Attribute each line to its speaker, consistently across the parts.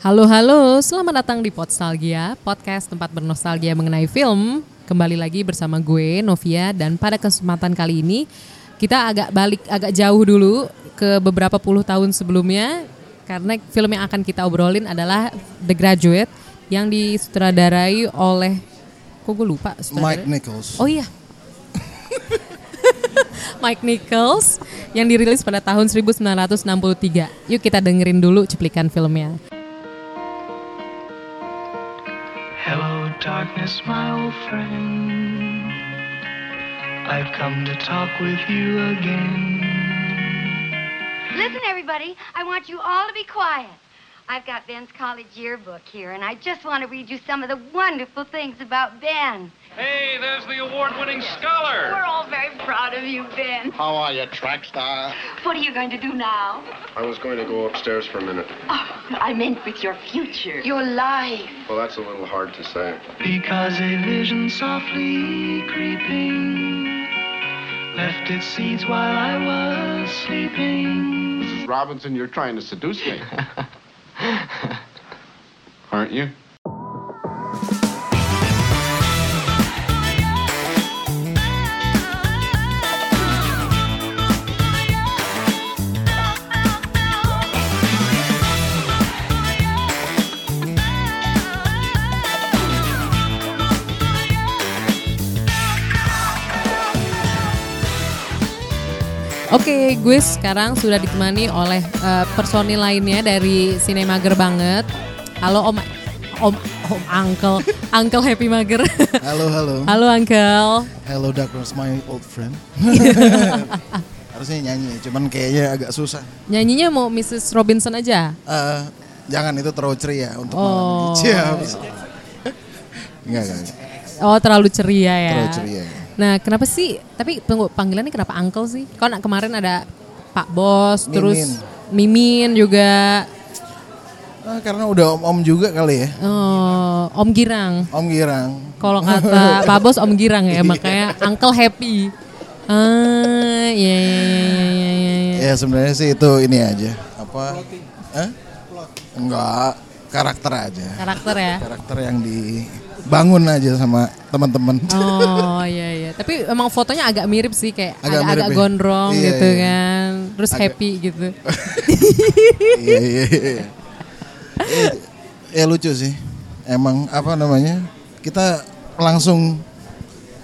Speaker 1: Halo halo, selamat datang di Podstalgia, podcast tempat bernostalgia mengenai film. Kembali lagi bersama gue Novia dan pada kesempatan kali ini kita agak balik agak jauh dulu ke beberapa puluh tahun sebelumnya karena film yang akan kita obrolin adalah The Graduate yang disutradarai oleh kok gue lupa
Speaker 2: Mike
Speaker 1: sutradara?
Speaker 2: Nichols.
Speaker 1: Oh iya. Mike Nichols yang dirilis pada tahun 1963. Yuk kita dengerin dulu cuplikan filmnya.
Speaker 3: Hello, darkness, my old friend. I've come to talk with you again.
Speaker 4: Listen, everybody, I want you all to be quiet. I've got Ben's college yearbook here, and I just want to read you some of the wonderful things about Ben.
Speaker 5: Hey, there's the award-winning scholar.
Speaker 4: We're all very proud of you, Ben.
Speaker 6: How are you, track star?
Speaker 4: What are you going to do now?
Speaker 6: I was going to go upstairs for a minute.
Speaker 4: Oh, I meant with your future. Your life.
Speaker 6: Well, that's a little hard to say.
Speaker 3: Because a vision softly creeping left its seeds while I was sleeping.
Speaker 6: Robinson, you're trying to seduce me. Aren't you?
Speaker 1: Oke, gue sekarang sudah ditemani oleh eh, personil lainnya dari Sinemager banget. Halo Om Om Om Uncle, Uncle Happy Mager.
Speaker 2: Halo, halo.
Speaker 1: Halo Uncle.
Speaker 2: Hello darkness my old friend. Harusnya nyanyi, cuman kayaknya agak susah.
Speaker 1: Nyanyinya mau Mrs. Robinson aja.
Speaker 2: Eh, jangan itu terlalu ceria ya untuk
Speaker 1: Oh.
Speaker 2: malam ini. Cia, habis. Enggak, enggak. enggak.
Speaker 1: Oh, terlalu ceria ya.
Speaker 2: Terlalu ceria.
Speaker 1: Nah, kenapa sih? Tapi tunggu, panggilannya kenapa Uncle sih? Karena kemarin ada Pak Bos,
Speaker 2: Mimin.
Speaker 1: terus Mimin juga.
Speaker 2: Ah, karena udah om-om juga kali ya.
Speaker 1: Oh, Om Girang.
Speaker 2: Om Girang.
Speaker 1: Kalau kata Pak Bos Om Girang
Speaker 2: Iya.
Speaker 1: ya, makanya Uncle Happy. Ah, ya ya ya ya ya. ya, ya.
Speaker 2: Ya sebenarnya sih itu ini aja. Apa? Eh? Enggak, karakter aja.
Speaker 1: Karakter ya.
Speaker 2: Karakter yang dibangun aja sama teman-teman.
Speaker 1: Oh iya iya. Tapi emang fotonya agak mirip sih kayak
Speaker 2: Agak
Speaker 1: agak, agak
Speaker 2: mirip ya?
Speaker 1: gondrong
Speaker 2: Iya,
Speaker 1: gitu
Speaker 2: iya.
Speaker 1: kan. Terus happy gitu.
Speaker 2: iya iya iya. Eh, ya lucu sih emang apa namanya kita langsung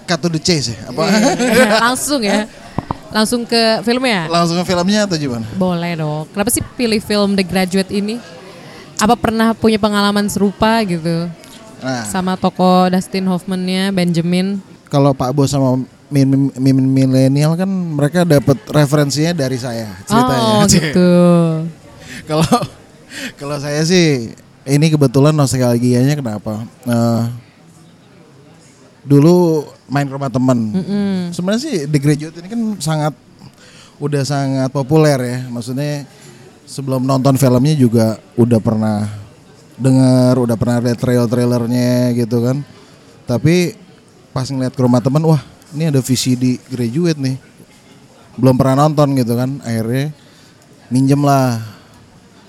Speaker 2: cut to the chase ya apa
Speaker 1: Langsung ya. Langsung ke filmnya.
Speaker 2: langsung ke filmnya atau gimana
Speaker 1: Boleh dong. Kenapa sih pilih film The Graduate ini? Apa pernah punya pengalaman serupa gitu?
Speaker 2: nah
Speaker 1: Sama toko Dustin Hoffman-nya, Benjamin.
Speaker 2: kalau Pak Bos sama mimin Mimin milenial kan mereka dapat referensinya dari saya ceritanya
Speaker 1: Oh gitu.
Speaker 2: kalau kalau saya sih ini kebetulan nostalgianya kenapa Eh, dulu main ke rumah teman sebenarnya sih The Graduate ini kan sangat udah sangat populer ya maksudnya sebelum nonton filmnya juga udah pernah dengar udah pernah lihat trailer trailernya gitu kan tapi pas ngeliat ke rumah teman wah ini ada VCD Graduate nih belum pernah nonton gitu kan akhirnya minjem lah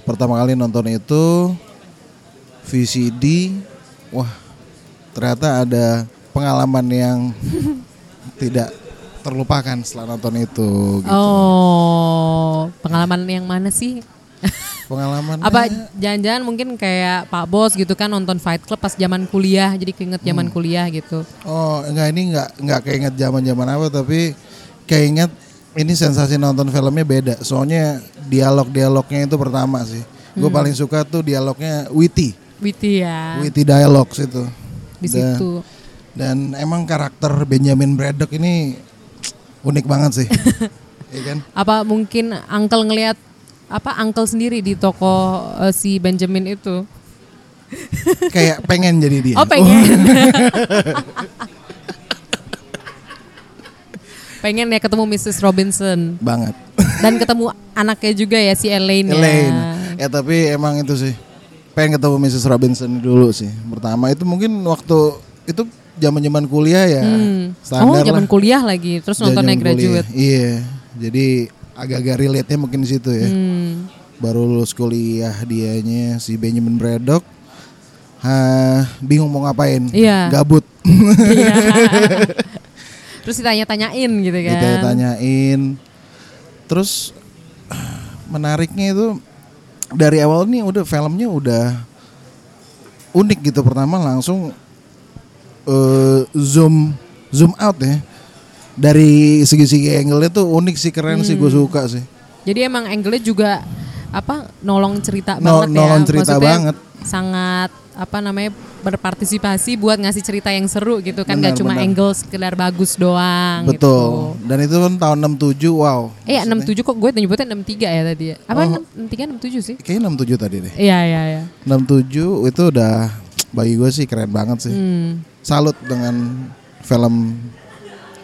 Speaker 2: pertama kali nonton itu VCD wah ternyata ada pengalaman yang tidak terlupakan setelah nonton itu gitu.
Speaker 1: Oh, pengalaman yang mana sih?
Speaker 2: pengalaman
Speaker 1: Apa jangan-jangan mungkin kayak Pak Bos gitu kan nonton Fight Club pas zaman kuliah, jadi keinget
Speaker 2: Hmm.
Speaker 1: zaman kuliah gitu.
Speaker 2: oh enggak ini enggak enggak keinget zaman zaman apa tapi keinget ini sensasi nonton filmnya beda soalnya dialog dialognya itu pertama sih gue
Speaker 1: Hmm.
Speaker 2: paling suka tuh dialognya witty
Speaker 1: Witty ya.
Speaker 2: witty dialogues itu
Speaker 1: Di
Speaker 2: Dan-
Speaker 1: situ.
Speaker 2: Dan emang karakter Benjamin Braddock ini unik banget sih. Iya kan?
Speaker 1: Apa mungkin Uncle ngelihat apa Uncle sendiri di toko eh, si Benjamin itu?
Speaker 2: Kayak pengen jadi dia.
Speaker 1: Oh pengen. pengen ya ketemu Mrs. Robinson
Speaker 2: banget.
Speaker 1: dan ketemu anaknya juga ya si Elaine. ya.
Speaker 2: Elaine. Ya tapi emang itu sih. Pengen ketemu Mrs. Robinson dulu sih. Pertama itu mungkin waktu itu zaman-zaman kuliah ya.
Speaker 1: Oh
Speaker 2: Standar
Speaker 1: zaman
Speaker 2: lah.
Speaker 1: kuliah lagi terus nontonnya
Speaker 2: Zaman kuliah.
Speaker 1: graduate. Hmm.
Speaker 2: Iya. Jadi agak-agak relate-nya mungkin di situ ya. baru lulus kuliah dianya si Benjamin Braddock ah, bingung mau ngapain
Speaker 1: Iya.
Speaker 2: gabut
Speaker 1: Terus ditanya-tanyain gitu kan.
Speaker 2: kita tanyain terus menariknya itu dari awal nih udah filmnya udah unik gitu pertama langsung eh, zoom zoom out ya dari segi-segi angle-nya tuh unik sih keren sih
Speaker 1: Hmm.
Speaker 2: gue suka sih
Speaker 1: Jadi emang angle-nya juga apa nolong cerita
Speaker 2: No-
Speaker 1: banget ya.
Speaker 2: nolong cerita
Speaker 1: Maksudnya
Speaker 2: banget.
Speaker 1: Sangat apa namanya berpartisipasi buat ngasih cerita yang seru gitu kan nggak
Speaker 2: Benar,
Speaker 1: cuma
Speaker 2: benar.
Speaker 1: angle sekedar bagus doang
Speaker 2: betul
Speaker 1: gitu.
Speaker 2: dan itu kan tahun 67 wow
Speaker 1: Eh 67 kok gue nyebutnya 63 ya tadi ya. Apa
Speaker 2: Oh.
Speaker 1: 63 67 sih?
Speaker 2: kayaknya 67 tadi deh
Speaker 1: Iya iya iya.
Speaker 2: 67 itu udah bagi gue sih keren banget sih salut dengan film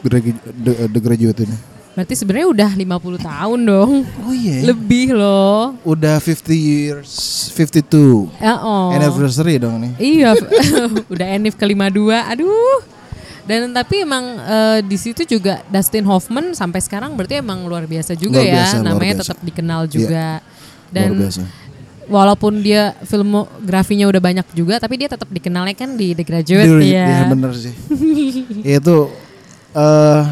Speaker 2: Gradu- The, The Graduate ini
Speaker 1: Berarti sebenarnya udah 50 tahun dong.
Speaker 2: oh iya
Speaker 1: Lebih loh.
Speaker 2: udah 50 years 52
Speaker 1: Ya, oh.
Speaker 2: anniversary dong nih
Speaker 1: Iya, udah Enif ke-52. Aduh. Dan tapi emang eh, di situ juga Dustin Hoffman sampai sekarang berarti emang luar biasa juga
Speaker 2: Luar biasa,
Speaker 1: ya.
Speaker 2: luar
Speaker 1: Namanya
Speaker 2: biasa. Iya,
Speaker 1: tetap dikenal juga. Dan
Speaker 2: luar biasa
Speaker 1: walaupun dia filmografinya udah banyak juga tapi dia tetap dikenalnya kan di The Graduate
Speaker 2: Dia-
Speaker 1: ya.
Speaker 2: dia iya, bener sih itu eh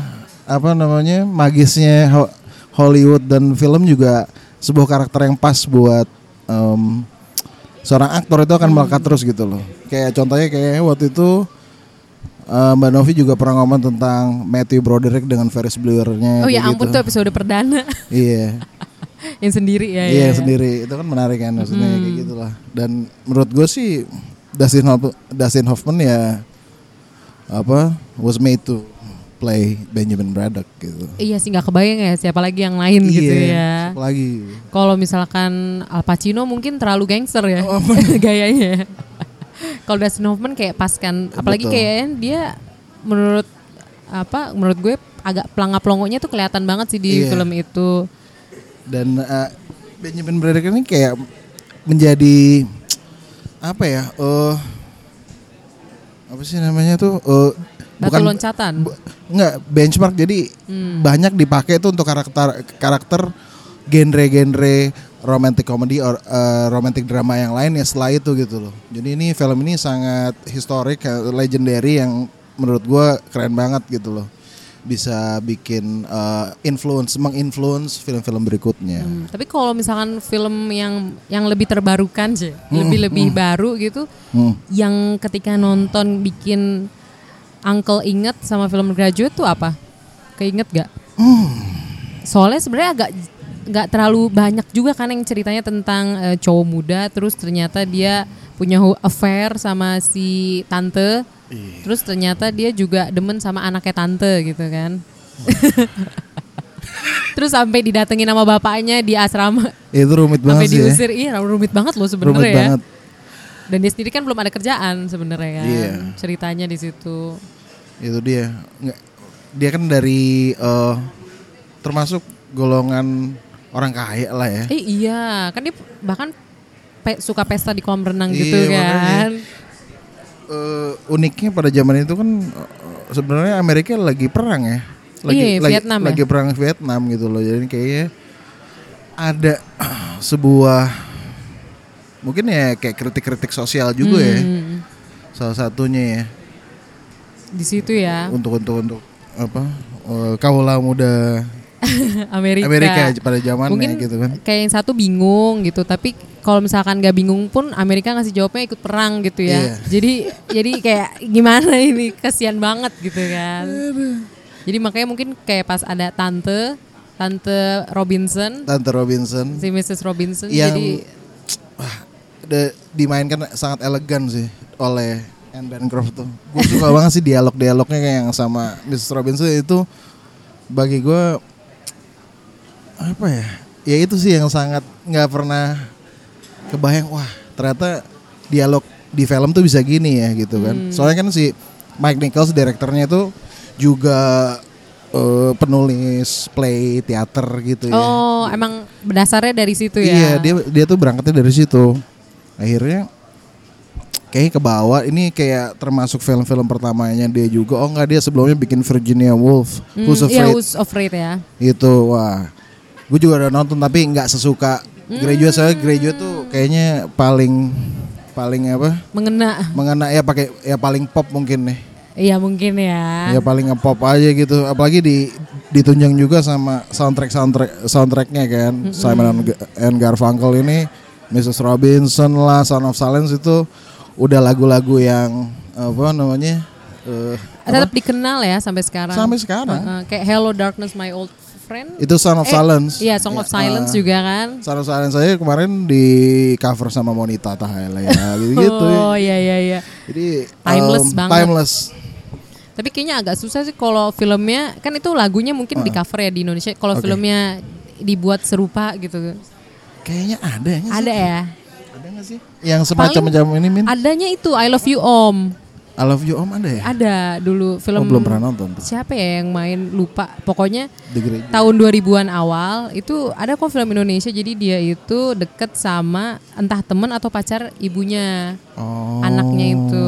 Speaker 2: apa namanya magisnya Ho- Hollywood dan film juga sebuah karakter yang pas buat em, seorang aktor itu akan melekat terus gitu loh kayak contohnya kayak waktu itu eh, Mbak Novi juga pernah ngomong tentang Matthew Broderick dengan Ferris Buellernya
Speaker 1: Oh
Speaker 2: kayak
Speaker 1: ya ampun
Speaker 2: gitu.
Speaker 1: tuh episode perdana
Speaker 2: iya
Speaker 1: yang sendiri ya.
Speaker 2: Iya
Speaker 1: ya.
Speaker 2: sendiri itu kan menarik kan maksudnya kayak gitulah. Dan menurut gue sih Dustin Hoff- Dustin Hoffman ya apa was made to play Benjamin Braddock gitu.
Speaker 1: Iya sih nggak kebayang ya siapa lagi yang lain
Speaker 2: Iya.
Speaker 1: gitu ya.
Speaker 2: siapa lagi.
Speaker 1: Kalau misalkan Al Pacino mungkin terlalu gangster ya
Speaker 2: Oh,
Speaker 1: gayanya. Kalau Dustin Hoffman kayak pas kan, apalagi
Speaker 2: Betul.
Speaker 1: kayaknya dia menurut apa? Menurut gue agak pelangap pelongonya tuh kelihatan banget sih di
Speaker 2: Iya.
Speaker 1: film itu.
Speaker 2: Dan eh, Benjamin Braddock ini kayak menjadi apa ya? eh apa sih namanya tuh? eh,
Speaker 1: Batu loncatan.
Speaker 2: bu- nggak benchmark jadi
Speaker 1: Hmm.
Speaker 2: banyak dipakai tuh untuk karakter karakter genre-genre romantic comedy or uh, romantic drama yang lain ya setelah itu gitu loh. Jadi ini film ini sangat historik, eh, legendary yang menurut gua keren banget gitu loh. Bisa bikin uh, influence, menginfluence film-film berikutnya.
Speaker 1: Hmm, Tapi kalau misalkan film yang yang lebih terbarukan sih, lebih lebih baru gitu,
Speaker 2: Hmm.
Speaker 1: yang ketika nonton bikin Uncle inget sama film Graduate tuh apa? Keinget gak? Soalnya sebenarnya agak nggak terlalu banyak juga kan yang ceritanya tentang eh, cowok muda terus ternyata dia punya ho- affair sama si tante terus ternyata dia juga demen sama anaknya tante gitu kan terus sampai didatengin sama bapaknya di asrama
Speaker 2: Itu rumit
Speaker 1: sampai
Speaker 2: banget sih ya.
Speaker 1: diusir iya rumit banget loh
Speaker 2: Rumit
Speaker 1: sebenarnya ya
Speaker 2: banget.
Speaker 1: dan dia sendiri kan belum ada kerjaan sebenarnya kan
Speaker 2: Iya.
Speaker 1: ceritanya di situ
Speaker 2: Itu dia. Nggak- Dia kan dari uh, termasuk golongan orang kaya lah ya.
Speaker 1: eh iya kan dia bahkan pe- suka pesta di kolam renang
Speaker 2: Iya,
Speaker 1: gitu kan
Speaker 2: makanya. eh, uniknya pada zaman itu kan eh, sebenarnya Amerika lagi perang ya. Lagi,
Speaker 1: Iya,
Speaker 2: lagi,
Speaker 1: Vietnam ya.
Speaker 2: lagi perang Vietnam gitu loh. Jadi kayaknya ada sebuah mungkin ya kayak kritik-kritik sosial juga ya.
Speaker 1: Hmm,
Speaker 2: Salah satunya ya
Speaker 1: di situ ya
Speaker 2: untuk untuk untuk apa? eh, kaula muda
Speaker 1: Amerika
Speaker 2: Amerika pada zamannya
Speaker 1: mungkin
Speaker 2: gitu kan.
Speaker 1: kayak yang satu bingung gitu tapi kalau misalkan nggak bingung pun Amerika ngasih jawabnya ikut perang gitu ya
Speaker 2: Iya.
Speaker 1: jadi jadi kayak gimana ini kasihan banget gitu kan jadi makanya mungkin kayak pas ada tante tante Robinson
Speaker 2: Tante Robinson
Speaker 1: si Mrs Robinson
Speaker 2: Yang-
Speaker 1: jadi
Speaker 2: de- dimainkan sangat elegan sih oleh Anne Bancroft tuh. Gue suka banget sih dialog-dialognya kayak yang sama Mrs. Robinson itu bagi gue apa ya? Ya itu sih yang sangat nggak pernah kebayang. Wah ternyata dialog di film tuh bisa gini ya gitu kan. Soalnya kan si Mike Nichols direkturnya itu juga eh, penulis play teater gitu ya.
Speaker 1: oh emang dasarnya dari situ ya
Speaker 2: Iya, dia dia tuh berangkatnya dari situ. Akhirnya kayaknya ke bawah ini kayak termasuk film-film pertamanya dia juga. Oh enggak, dia sebelumnya bikin Virginia Woolf,
Speaker 1: Hmm,
Speaker 2: Who's
Speaker 1: iya,
Speaker 2: Afraid. gitu.
Speaker 1: Who's Afraid ya
Speaker 2: Itu wah. Gue juga udah nonton tapi nggak sesuka Graduate saya graduate tuh kayaknya paling paling apa?
Speaker 1: Mengena.
Speaker 2: Mengena ya pakai ya paling pop mungkin nih.
Speaker 1: Iya mungkin ya.
Speaker 2: Ya paling nge-pop aja gitu. Apalagi di ditunjang juga sama soundtrack soundtrack soundtracknya kan. Simon and Ga- and Garfunkel ini, Mrs. Robinson lah, Son of Silence itu udah lagu-lagu yang apa namanya? eh,
Speaker 1: Tetap dikenal ya sampai sekarang.
Speaker 2: Sampai sekarang.
Speaker 1: Heeh, kayak Hello Darkness My Old Friend.
Speaker 2: itu Son of
Speaker 1: Eh,
Speaker 2: Silence.
Speaker 1: Iya, Song of
Speaker 2: Ya,
Speaker 1: Silence
Speaker 2: eh,
Speaker 1: juga kan.
Speaker 2: Son of Silence saya kemarin di cover sama Monita Tahela gitu. gitu.
Speaker 1: Oh iya iya iya.
Speaker 2: Jadi
Speaker 1: Timeless
Speaker 2: em,
Speaker 1: banget.
Speaker 2: Timeless.
Speaker 1: Tapi kayaknya agak susah sih kalau filmnya kan itu lagunya mungkin di cover ya di Indonesia. Kalau
Speaker 2: Oke. Iya
Speaker 1: filmnya dibuat serupa gitu.
Speaker 2: Kayaknya ada ya nggak sih?
Speaker 1: Ada ya.
Speaker 2: Ada nggak sih? Yang semacam macam ini Min.
Speaker 1: Adanya itu I Love You Om.
Speaker 2: I Love You Om ada ya?
Speaker 1: Ada dulu film
Speaker 2: Oh, belum pernah nonton.
Speaker 1: Siapa ya yang main lupa. Pokoknya
Speaker 2: The Great.
Speaker 1: tahun 2000-an awal itu ada kok film Indonesia jadi dia itu deket sama entah temen atau pacar ibunya
Speaker 2: Oh.
Speaker 1: anaknya itu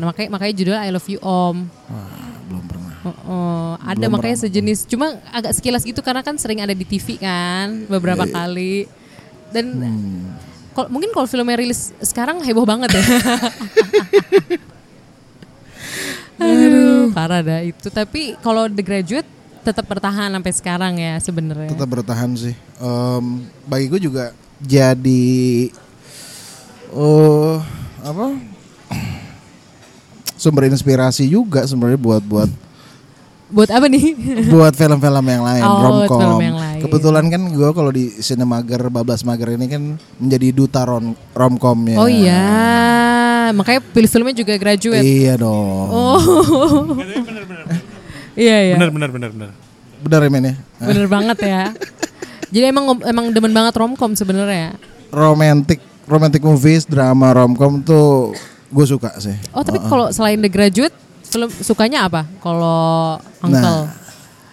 Speaker 1: nah, makanya makanya judul I Love You Om
Speaker 2: Wah, belum pernah.
Speaker 1: Oh, oh, ada makanya sejenis cuma agak sekilas gitu karena kan sering ada di TV kan
Speaker 2: Iya,
Speaker 1: beberapa kali dan
Speaker 2: Hmm.
Speaker 1: kal- mungkin kalau filmnya rilis sekarang heboh banget ya Aduh,
Speaker 2: Hmm.
Speaker 1: parah dah itu. Tapi kalau The Graduate tetap bertahan sampai sekarang ya sebenarnya.
Speaker 2: Tetap bertahan sih. Em, bagi gue juga jadi eh apa? sumber inspirasi juga sebenarnya buat buat
Speaker 1: Buat apa nih?
Speaker 2: buat film-film yang lain
Speaker 1: Oh, buat
Speaker 2: romcom
Speaker 1: film yang lain.
Speaker 2: kebetulan kan gue kalau di Cinemager Bablas Mager ini kan menjadi duta rom romcomnya
Speaker 1: Oh iya, makanya pilih filmnya juga Graduate.
Speaker 2: Ya. iya dong
Speaker 1: Oh. Iya iya.
Speaker 7: Bener bener bener bener.
Speaker 2: benar ya men ya
Speaker 1: Bener banget ya. Jadi emang emang demen banget romcom sebenarnya.
Speaker 2: romantic romantic movies drama romcom tuh gue suka sih
Speaker 1: Oh tapi kalau selain The Graduate, film sukanya apa? Kalau Uncle,
Speaker 2: Nah.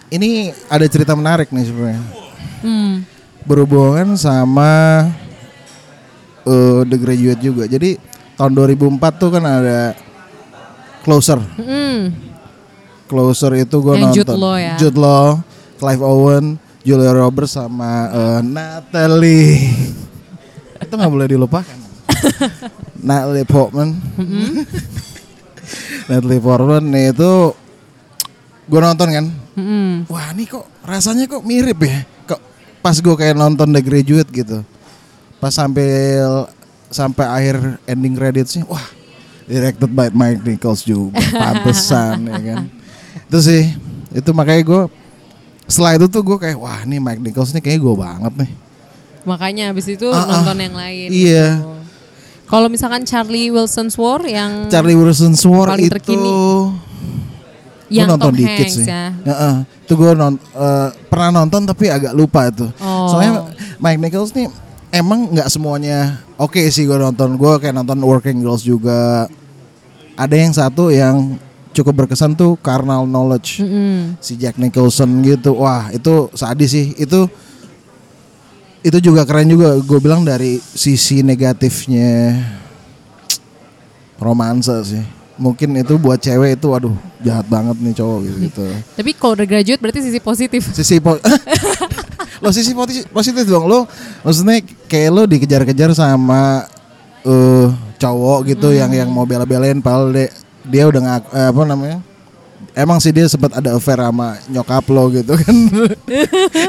Speaker 2: ini ada cerita menarik nih sebenarnya
Speaker 1: hmm,
Speaker 2: berhubungan sama eh, The Graduate juga jadi tahun 2004 tuh kan ada Closer
Speaker 1: Mm-mm.
Speaker 2: Closer itu gue
Speaker 1: Hmm. Yang
Speaker 2: nonton
Speaker 1: Jude Law ya?
Speaker 2: Jude Law, Clive Owen, Julia Roberts sama eh, Natalie. itu nggak boleh dilupakan. Natalie Portman.
Speaker 1: Hmm.
Speaker 2: Natalie Portman itu gue nonton kan.
Speaker 1: Mm-mm.
Speaker 2: Wah ini kok rasanya kok mirip ya. Kok pas gue kayak nonton The Graduate gitu. Pas sampai sampai akhir ending creditsnya, wah directed by Mike Nichols juga, pantesan ya kan. Itu sih, itu makanya gue setelah itu tuh gue kayak wah nih Mike Nichols nih kayaknya gue banget nih.
Speaker 1: makanya habis itu
Speaker 2: Ah, ah.
Speaker 1: nonton yang lain.
Speaker 2: Iya.
Speaker 1: gitu. Kalau misalkan Charlie Wilson's War yang
Speaker 2: Charlie Wilson's War
Speaker 1: Hmm. Paling
Speaker 2: itu
Speaker 1: terkini.
Speaker 2: gue
Speaker 1: yang Tom
Speaker 2: nonton dikit
Speaker 1: Hanks
Speaker 2: sih.
Speaker 1: ya.
Speaker 2: Heeh. Itu gue non- eh, pernah nonton tapi agak lupa itu.
Speaker 1: Oh.
Speaker 2: Soalnya Mike Nichols nih emang nggak semuanya oke sih gue nonton. Gue kayak nonton Working Girls juga. Ada yang satu yang cukup berkesan tuh Carnal Knowledge.
Speaker 1: Mm-mm.
Speaker 2: Si Jack Nicholson gitu. Wah, itu sadis sih. Itu itu juga keren juga gue bilang dari sisi negatifnya romansa sih mungkin itu buat cewek itu waduh jahat banget nih cowok gitu, -gitu.
Speaker 1: Tapi kalau The Graduate berarti sisi positif.
Speaker 2: sisi po lo sisi poti- positif dong lo maksudnya kayak lo dikejar-kejar sama eh cowok gitu yang yang mau bela-belain padahal dia, dia udah nggak apa namanya emang sih dia sempat ada affair sama nyokap lo gitu kan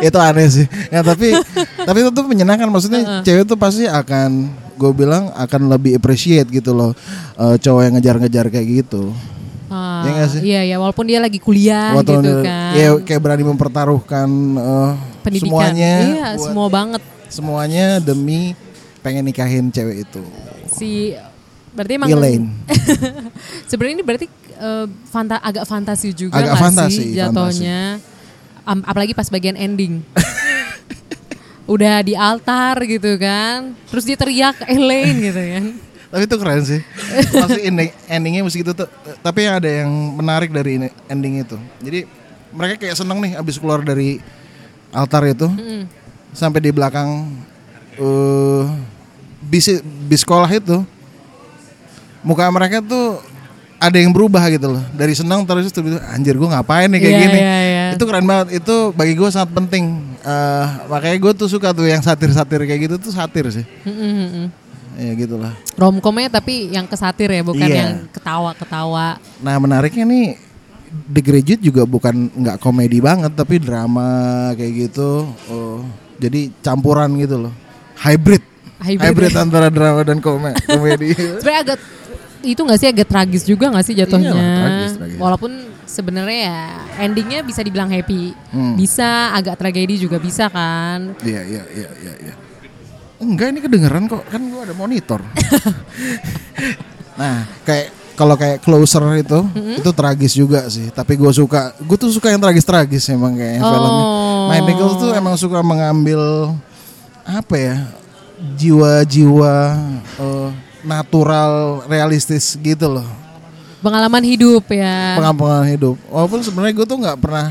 Speaker 2: itu aneh sih ya tapi tapi itu tuh menyenangkan maksudnya cewek tuh pasti akan gue bilang akan lebih appreciate gitu loh eh, cowok yang ngejar-ngejar kayak gitu
Speaker 1: Ah,
Speaker 2: Iya nggak sih?
Speaker 1: Iya iya, walaupun dia lagi kuliah gitu
Speaker 2: Waktu dia-
Speaker 1: kan.
Speaker 2: ya, kayak berani mempertaruhkan eh,
Speaker 1: Pendidikan.
Speaker 2: semuanya
Speaker 1: Iya,
Speaker 2: buat-
Speaker 1: semua banget.
Speaker 2: semuanya demi pengen nikahin cewek itu
Speaker 1: si berarti emang
Speaker 2: Elaine.
Speaker 1: sebenarnya ini berarti eh, fanta- agak fantasi juga
Speaker 2: Agak
Speaker 1: nggak
Speaker 2: fantasi,
Speaker 1: sih jatuhnya Am- apalagi pas bagian ending udah di altar gitu kan terus dia teriak Elaine gitu kan
Speaker 2: tapi itu keren sih pasti ending, endingnya mesti gitu tuh tapi ada yang menarik dari ini- ending itu jadi mereka kayak seneng nih abis keluar dari altar itu sampai di belakang eh bis bis sekolah itu muka mereka tuh ada yang berubah gitu loh dari senang terus tiba-tiba anjir gue gitu, ngapain nih kayak
Speaker 1: Iya,
Speaker 2: gini
Speaker 1: iya, iya.
Speaker 2: itu keren banget itu bagi gue sangat penting eh, makanya gue tuh suka tuh yang satir-satir kayak gitu tuh satir sih. Ya gitulah.
Speaker 1: Romcomnya tapi yang kesatir ya, bukan
Speaker 2: Iya.
Speaker 1: yang ketawa-ketawa.
Speaker 2: Nah menariknya nih The Graduate juga bukan nggak komedi banget tapi drama kayak gitu. Oh, jadi campuran gitu loh. Hybrid.
Speaker 1: Hybrid.
Speaker 2: antara drama dan kome- komedi.
Speaker 1: Sebenarnya agak itu nggak sih agak tragis juga nggak sih jatuhnya?
Speaker 2: Iyalah, Iya, tragis, tragis.
Speaker 1: Walaupun sebenarnya ya endingnya bisa dibilang happy,
Speaker 2: Hmm.
Speaker 1: bisa agak tragedi juga bisa kan?
Speaker 2: Iya iya iya iya. iya. Enggak ini kedengeran kok kan gua ada monitor. nah kayak kalau kayak closer itu itu tragis juga sih tapi gue suka gue tuh suka yang tragis tragis emang kayak
Speaker 1: Oh.
Speaker 2: filmnya. My Nichols tuh emang suka mengambil apa ya jiwa-jiwa eh, natural realistis gitu loh
Speaker 1: Pengalaman hidup ya.
Speaker 2: pengampungan hidup. Walaupun sebenarnya gue tuh nggak pernah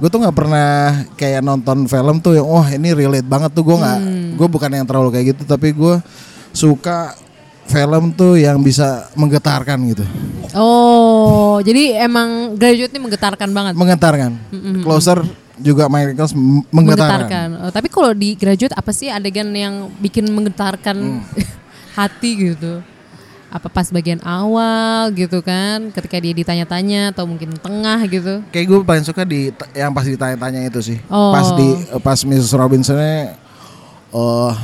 Speaker 2: gue tuh nggak pernah kayak nonton film tuh yang wah ini relate banget tuh gue nggak
Speaker 1: Hmm.
Speaker 2: gue bukan yang terlalu kayak gitu tapi gue suka film tuh yang bisa menggetarkan gitu
Speaker 1: Oh, jadi emang graduate ini menggetarkan banget.
Speaker 2: menggetarkan closer juga Michael menggetarkan
Speaker 1: Oh, tapi kalau di graduate apa sih adegan yang bikin menggetarkan
Speaker 2: Hmm.
Speaker 1: hati gitu? Apa pas bagian awal gitu kan? Ketika dia ditanya-tanya atau mungkin tengah gitu?
Speaker 2: kayak gue paling suka di yang pas ditanya-tanya itu sih
Speaker 1: Oh.
Speaker 2: pas di pas Mrs Robinsonnya eh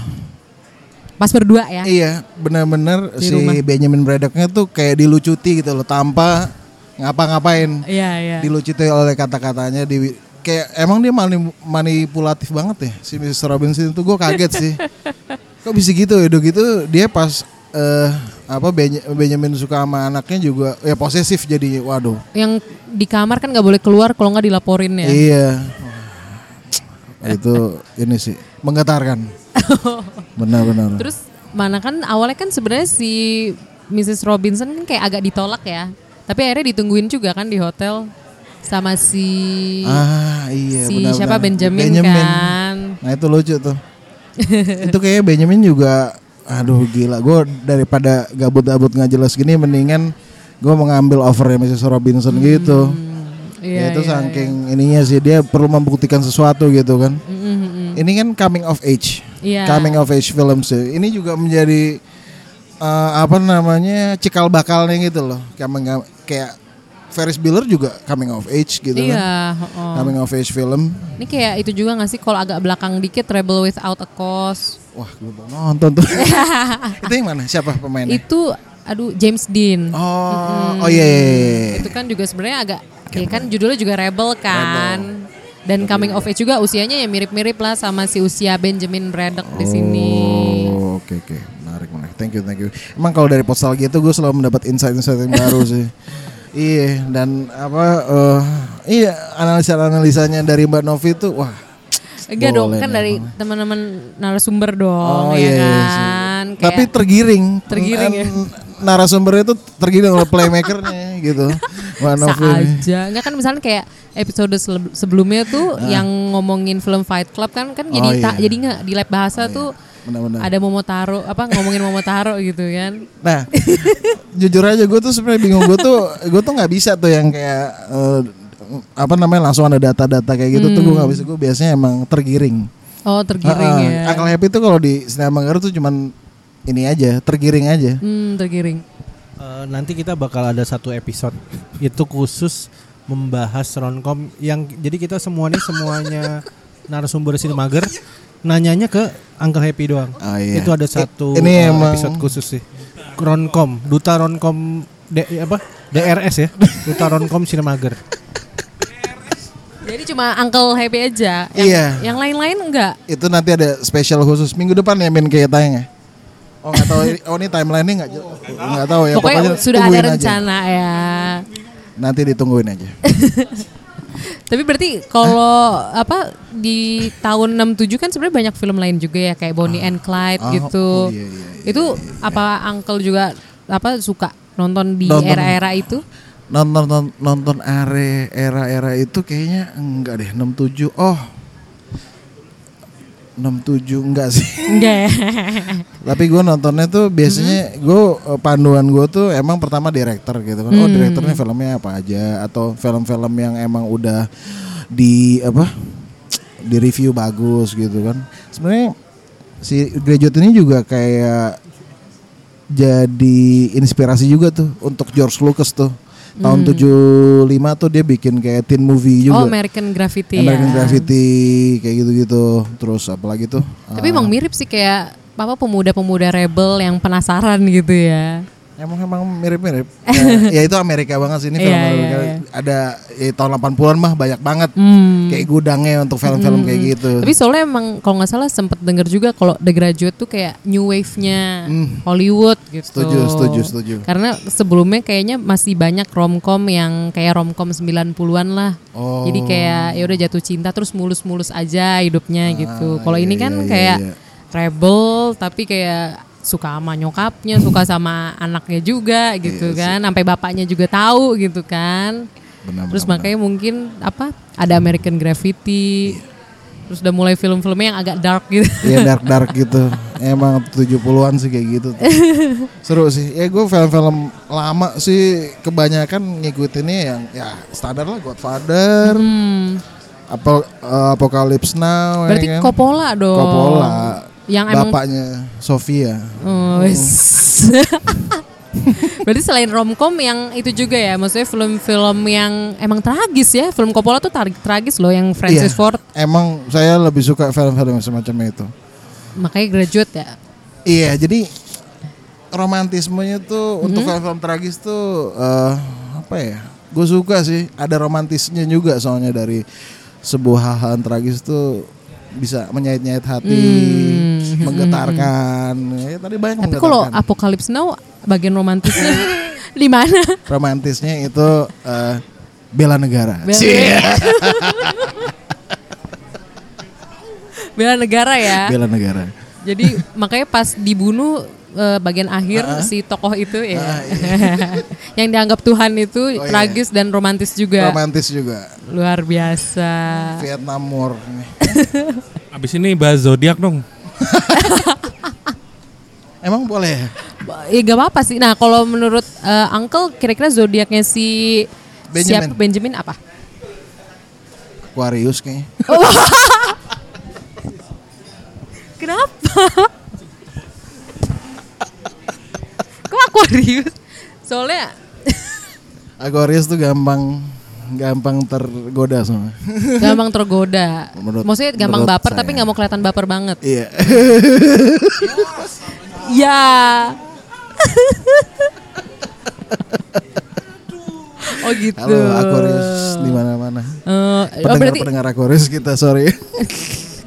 Speaker 1: Pas berdua ya?
Speaker 2: Iya, benar-benar
Speaker 1: Di
Speaker 2: si
Speaker 1: rumah.
Speaker 2: Benjamin Braddocknya tuh kayak dilucuti gitu loh, tanpa ngapa-ngapain.
Speaker 1: Iya, iya.
Speaker 2: Dilucuti oleh kata-katanya di kayak emang dia mani- manipulatif banget ya si Mrs. Robinson itu gue kaget sih. Kok bisa gitu? Udah gitu dia pas eh apa Beny- Benjamin suka sama anaknya juga ya posesif jadi waduh.
Speaker 1: Yang di kamar kan nggak boleh keluar kalau nggak dilaporin ya.
Speaker 2: Iya. Wah, Iya. itu ini sih menggetarkan. Benar-benar.
Speaker 1: Terus mana kan awalnya kan sebenarnya si Mrs. Robinson kan kayak agak ditolak ya. Tapi akhirnya ditungguin juga kan di hotel sama si
Speaker 2: Ah iya
Speaker 1: si
Speaker 2: benar-benar.
Speaker 1: siapa Benjamin, kan.
Speaker 2: Nah itu lucu tuh. itu kayaknya Benjamin juga aduh gila. Gue daripada gabut-gabut nggak jelas gini mendingan gue mengambil overnya Mrs. Robinson gitu.
Speaker 1: Hmm, Iya,
Speaker 2: ya itu
Speaker 1: iya, Hmm,
Speaker 2: saking ininya sih dia perlu membuktikan sesuatu gitu kan. Ini kan coming of age.
Speaker 1: Iya.
Speaker 2: Coming of age film sih. Ini juga menjadi eh, apa namanya cikal bakalnya gitu loh. Kayak kayak Ferris Bueller juga coming of age gitu kan
Speaker 1: Iya, oh.
Speaker 2: coming of age film.
Speaker 1: Ini kayak itu juga gak sih kalau agak belakang dikit Rebel Without a Cause.
Speaker 2: Wah, gue mau nonton tuh. itu yang mana? Siapa pemainnya?
Speaker 1: Itu aduh James Dean.
Speaker 2: Iya. Oh, oh iya. iya, iya.
Speaker 1: Itu kan juga sebenarnya agak ya kan judulnya juga Rebel kan. Dan coming of age juga usianya ya mirip-mirip lah sama si usia Benjamin Braddock di sini.
Speaker 2: Oh, oke oke. Menarik menarik. Thank you thank you. Emang kalau dari postal gitu gue selalu mendapat insight-insight yang baru sih. Iya, dan apa eh iya analisa-analisanya dari Mbak Novi itu wah.
Speaker 1: Enggak dong,
Speaker 2: boleh
Speaker 1: kan
Speaker 2: deh,
Speaker 1: dari teman-teman narasumber dong
Speaker 2: Oh,
Speaker 1: ya
Speaker 2: iya, iya sih.
Speaker 1: kan. Kayak-
Speaker 2: Tapi tergiring.
Speaker 1: Tergiring ya.
Speaker 2: N- Narasumbernya itu tergiring oleh playmakernya gitu. Mbak Novi.
Speaker 1: Sa
Speaker 2: ini.
Speaker 1: aja. Enggak kan misalnya kayak episode sele- sebelumnya tuh yang ngomongin film Fight Club kan kan jadi
Speaker 2: Ah. Oh, iya. Oh,
Speaker 1: tak jadi nggak di lab bahasa tuh
Speaker 2: Benar-benar.
Speaker 1: ada Momotaro apa ngomongin Momotaro gitu kan.
Speaker 2: Nah, jujur aja gue tuh sebenarnya bingung gue tuh gue tuh nggak bisa tuh yang kayak eh, apa namanya langsung ada data-data kayak gitu tuh gue nggak bisa gue biasanya emang tergiring.
Speaker 1: Oh, tergiring
Speaker 2: Ah, ah.
Speaker 1: ya.
Speaker 2: Akal happy tuh kalau di sinema Garu tuh cuman ini aja tergiring aja.
Speaker 1: Hmm, tergiring.
Speaker 7: Eh, nanti kita bakal ada satu episode itu khusus membahas roncom yang jadi kita semuanya semuanya narasumber sinemager nanyanya ke Uncle Happy doang.
Speaker 2: Ah, iya.
Speaker 7: Itu ada satu
Speaker 2: I- ini
Speaker 7: eh,
Speaker 2: emang-
Speaker 7: episode khusus sih. Roncom, duta roncom D, apa? DRS ya. Duta roncom sinemager.
Speaker 1: Jadi cuma Uncle Happy aja. Yang,
Speaker 2: Iya.
Speaker 1: Yang lain-lain enggak.
Speaker 2: Itu nanti ada spesial khusus minggu depan ya Min kayak tayang ya. Oh nggak tahu, oh ini timelinenya nggak j- nggak tahu ya.
Speaker 1: Pokoknya, sudah ada
Speaker 2: tungguin aja.
Speaker 1: rencana ya.
Speaker 2: Nanti ditungguin aja.
Speaker 1: Tapi berarti kalau apa di tahun 67 kan sebenarnya banyak film lain juga ya kayak Bonnie and Clyde
Speaker 2: ah,
Speaker 1: gitu.
Speaker 2: oh iya, iya, iya,
Speaker 1: itu apa Uncle juga apa suka nonton di
Speaker 2: Nonton.
Speaker 1: era-era itu?
Speaker 2: nonton nonton, nonton are era-era itu kayaknya enggak deh 67 oh 67 enggak sih
Speaker 1: Enggak. ya?
Speaker 2: tapi gue nontonnya tuh biasanya
Speaker 1: Mm-hmm.
Speaker 2: gue eh, panduan gue tuh emang pertama director gitu kan oh
Speaker 1: Mm.
Speaker 2: direkturnya filmnya apa aja atau film-film yang emang udah di apa di review bagus gitu kan. Sebenarnya si graduate ini juga kayak jadi inspirasi juga tuh untuk George Lucas tuh. Tahun 75 tuh dia bikin kayak teen movie
Speaker 1: Mm. Oh,
Speaker 2: juga.
Speaker 1: American Graffiti ya.
Speaker 2: American Graffiti kayak gitu-gitu. Terus apalagi tuh?
Speaker 1: Tapi emang
Speaker 2: Ah.
Speaker 1: mirip sih kayak apa pemuda-pemuda rebel yang penasaran gitu ya.
Speaker 2: Emang emang mirip-mirip. ya, ya itu Amerika banget sih ini film
Speaker 1: Iya, iya,
Speaker 2: Amerika.
Speaker 1: iya. Hmm.
Speaker 2: Ada ya, tahun 80-an mah banyak banget kayak gudangnya untuk film-film kayak gitu.
Speaker 1: Tapi soalnya emang kalau nggak salah sempet denger juga kalau The Graduate tuh kayak new wave-nya Hollywood gitu.
Speaker 2: Hmm. Setuju, setuju, setuju.
Speaker 1: Karena sebelumnya kayaknya masih banyak romcom yang kayak romcom 90-an lah.
Speaker 2: Oh.
Speaker 1: Jadi kayak ya udah jatuh cinta terus mulus-mulus aja hidupnya gitu. Kalau
Speaker 2: iya,
Speaker 1: ini kan
Speaker 2: iya, iya,
Speaker 1: kayak
Speaker 2: iya.
Speaker 1: rebel tapi kayak suka sama nyokapnya, suka sama anaknya juga
Speaker 2: Iya
Speaker 1: gitu kan. Sampai bapaknya juga tahu gitu kan.
Speaker 2: Benar,
Speaker 1: Terus
Speaker 2: benar,
Speaker 1: makanya mungkin apa ada American Graffiti. Terus udah mulai film-filmnya yang agak dark gitu.
Speaker 2: Iya dark-dark gitu. Emang 70-an sih kayak gitu. tuh. Seru sih. Ya gue film-film lama sih kebanyakan ngikutinnya yang ya standar lah Godfather. Apo- eh, Apocalypse Now ya
Speaker 1: Hmm. Berarti
Speaker 2: kan?
Speaker 1: Coppola dong.
Speaker 2: Coppola.
Speaker 1: Yang emang
Speaker 2: bapaknya Sofia.
Speaker 1: Oh, wes.
Speaker 2: Hmm.
Speaker 1: Berarti selain romcom yang itu juga ya, maksudnya film-film yang emang tragis ya. Film Coppola tuh tar- tragis loh yang Francis
Speaker 2: Iya,
Speaker 1: Ford.
Speaker 2: Emang saya lebih suka film-film semacam itu.
Speaker 1: Makanya graduate ya.
Speaker 2: Iya, jadi romantismenya
Speaker 1: Mhm.
Speaker 2: tuh untuk film-film tragis tuh eh, apa ya? Gue suka sih, ada romantisnya juga soalnya dari sebuah hal-hal tragis tuh bisa menyait-nyait hati, menggetarkan. Ya, tadi banyak
Speaker 1: Hmm. Tapi kalau
Speaker 2: menggetarkan.
Speaker 1: Apocalypse Now bagian romantisnya di mana?
Speaker 2: Romantisnya itu eh, bela negara.
Speaker 1: Bela- Bela negara ya.
Speaker 2: Bela negara.
Speaker 1: Jadi makanya pas dibunuh eh, bagian akhir si tokoh itu ya. yang dianggap Tuhan itu
Speaker 2: iya.
Speaker 1: tragis dan romantis juga.
Speaker 2: Romantis juga.
Speaker 1: Luar biasa.
Speaker 2: Vietnam War.
Speaker 8: Abis ini bahas zodiak dong.
Speaker 2: Emang boleh? ya?
Speaker 1: Ya gak apa-apa sih. Nah kalau menurut eh, Uncle kira-kira zodiaknya si
Speaker 2: Benjamin.
Speaker 1: siapa Benjamin apa?
Speaker 2: Aquarius kayaknya.
Speaker 1: Kenapa? Kok Aquarius? Soalnya
Speaker 2: Aquarius tuh gampang gampang tergoda sama.
Speaker 1: gampang tergoda.
Speaker 2: Menurut-
Speaker 1: Maksudnya gampang
Speaker 2: menurut
Speaker 1: baper
Speaker 2: saya.
Speaker 1: tapi nggak mau kelihatan baper banget.
Speaker 2: Iya.
Speaker 1: Ya. oh gitu.
Speaker 2: Halo Aquarius di mana-mana.
Speaker 1: Eh, oh,
Speaker 2: Pendengar
Speaker 1: berarti
Speaker 2: pendengar Aquarius kita sorry.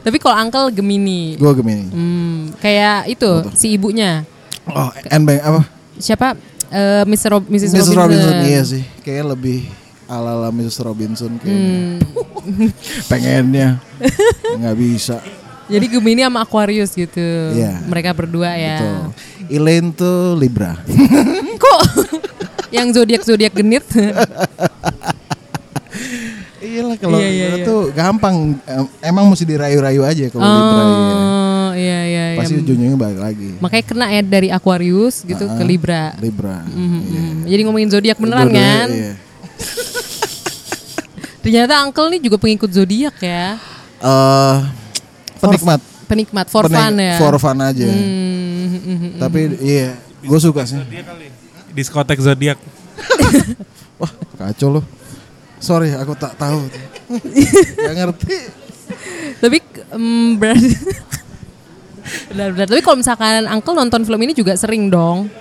Speaker 1: tapi kalau Uncle Gemini.
Speaker 2: Gue Gemini.
Speaker 1: Hmm, kayak itu si ibunya.
Speaker 2: Oh, Enbang apa?
Speaker 1: Siapa? Eh, Mr. Rob- Mrs.
Speaker 2: Mrs.
Speaker 1: Robinson.
Speaker 2: Robinson. Iya sih. Kayaknya lebih ala-ala Mrs. Robinson kayaknya.
Speaker 1: Hmm.
Speaker 2: Pengennya nggak bisa.
Speaker 1: Jadi Gemini sama Aquarius gitu.
Speaker 2: Iya.
Speaker 1: Mereka berdua ya.
Speaker 2: Tuh. Elaine tuh Libra.
Speaker 1: Kok yang zodiak-zodiak genit?
Speaker 2: Iya lah kalau
Speaker 1: Iya, iya,
Speaker 2: Libra
Speaker 1: iya.
Speaker 2: tuh gampang Em- emang mesti dirayu-rayu aja kalau Libra ya.
Speaker 1: oh, iya iya iya.
Speaker 2: Pasti ujungnya balik lagi.
Speaker 1: Makanya kena ya dari Aquarius gitu ke Libra.
Speaker 2: Libra.
Speaker 1: Hmm, Jadi ngomongin zodiak beneran
Speaker 2: Bodohnya,
Speaker 1: kan?
Speaker 2: iya.
Speaker 1: Ternyata Uncle nih juga pengikut zodiak ya.
Speaker 2: eh penikmat
Speaker 1: Penikmat for
Speaker 2: Penik-
Speaker 1: fun ya. Hmm,
Speaker 2: for fun aja tapi iya gue suka sih
Speaker 8: Diskotek zodiak.
Speaker 2: wah kacau lo sorry aku tak tahu gak ngerti
Speaker 1: Tapi mm, berarti Benar-benar. Tapi kalau misalkan Uncle nonton film ini juga sering dong.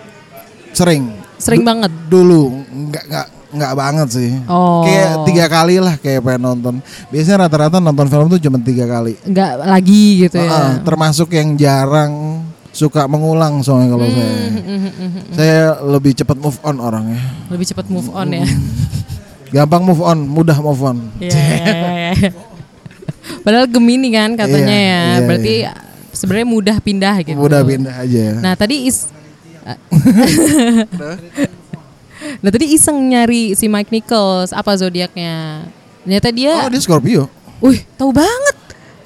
Speaker 2: sering
Speaker 1: Sering banget.
Speaker 2: dulu nggak nggak nggak banget sih
Speaker 1: Oh.
Speaker 2: kayak tiga kali lah kayak pengen nonton biasanya rata-rata nonton film tuh cuma tiga kali
Speaker 1: Enggak lagi gitu ya.
Speaker 2: Heeh, termasuk yang jarang suka mengulang soalnya
Speaker 1: Hmm.
Speaker 2: kalau saya saya lebih cepat move on orangnya
Speaker 1: Lebih cepat move on ya.
Speaker 2: Hmm. gampang move on mudah move on
Speaker 1: Iya, iya, iya, iya. Padahal Gemini kan katanya
Speaker 2: Iya,
Speaker 1: ya.
Speaker 2: iya,
Speaker 1: Berarti sebenarnya mudah pindah gitu.
Speaker 2: Udah pindah aja.
Speaker 1: Nah tadi is Nah tadi iseng nyari si Mike Nichols apa zodiaknya. Ternyata dia,
Speaker 2: oh, dia Scorpio.
Speaker 1: wih tahu banget.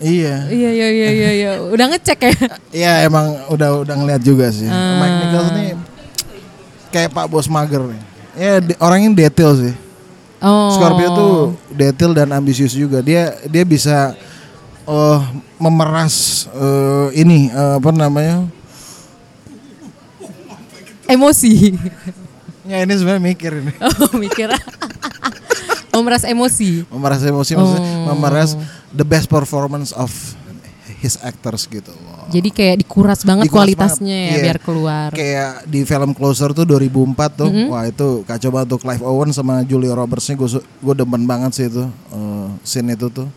Speaker 2: Iya.
Speaker 1: Iya iya iya iya iya. Udah ngecek ya.
Speaker 2: Iya, emang udah udah ngeliat juga sih. Mike Nichols nih kayak Pak Bos Mager nih. Ya, di- orangnya detail sih.
Speaker 1: Oh.
Speaker 2: Scorpio tuh detail dan ambisius juga. Dia dia bisa eh, memeras eh, ini eh, apa namanya?
Speaker 1: Oh, Emosi.
Speaker 2: Ya ini sebenarnya mikir ini.
Speaker 1: Oh, mikir. Memeras emosi.
Speaker 2: Memeras emosi maksudnya memeras the best performance of his actors gitu loh.
Speaker 1: Jadi kayak dikuras banget
Speaker 2: Dikuras
Speaker 1: kualitasnya
Speaker 2: banget.
Speaker 1: ya
Speaker 2: Iya.
Speaker 1: biar keluar. Mm-hmm.
Speaker 2: Kayak di film Closer tuh 2004 tuh, wah itu kacau banget tuh Clive Owen sama Julia Robertsnya gue gue demen banget sih itu eh, scene itu tuh.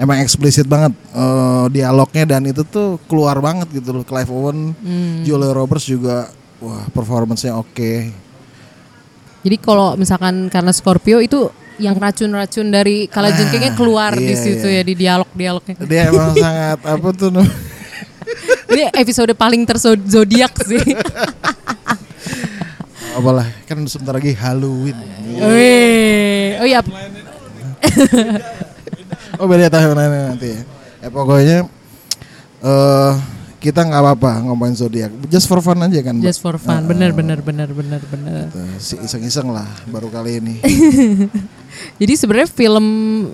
Speaker 2: Emang eksplisit banget eh, dialognya dan itu tuh keluar banget gitu loh Clive Owen,
Speaker 1: Hmm.
Speaker 2: Julia Roberts juga wah performance-nya oke.
Speaker 1: Jadi kalau misalkan karena Scorpio itu yang racun-racun dari kala jengkingnya keluar di
Speaker 2: iya,
Speaker 1: situ ya di dialog-dialognya.
Speaker 2: Dia emang sangat apa tuh namanya?
Speaker 1: Ini episode paling terzodiak sih.
Speaker 2: apalah kan sebentar lagi Halloween.
Speaker 1: Ah, ya, Wih. Oh iya.
Speaker 2: Oh beda timeline nanti ya. Eh, pokoknya eh kita nggak apa-apa ngomongin zodiak. Just for fun aja kan. Mbak?
Speaker 1: Just for fun. Bener bener bener bener bener.
Speaker 2: Eh, Si iseng-iseng lah baru kali ini.
Speaker 1: Jadi sebenarnya film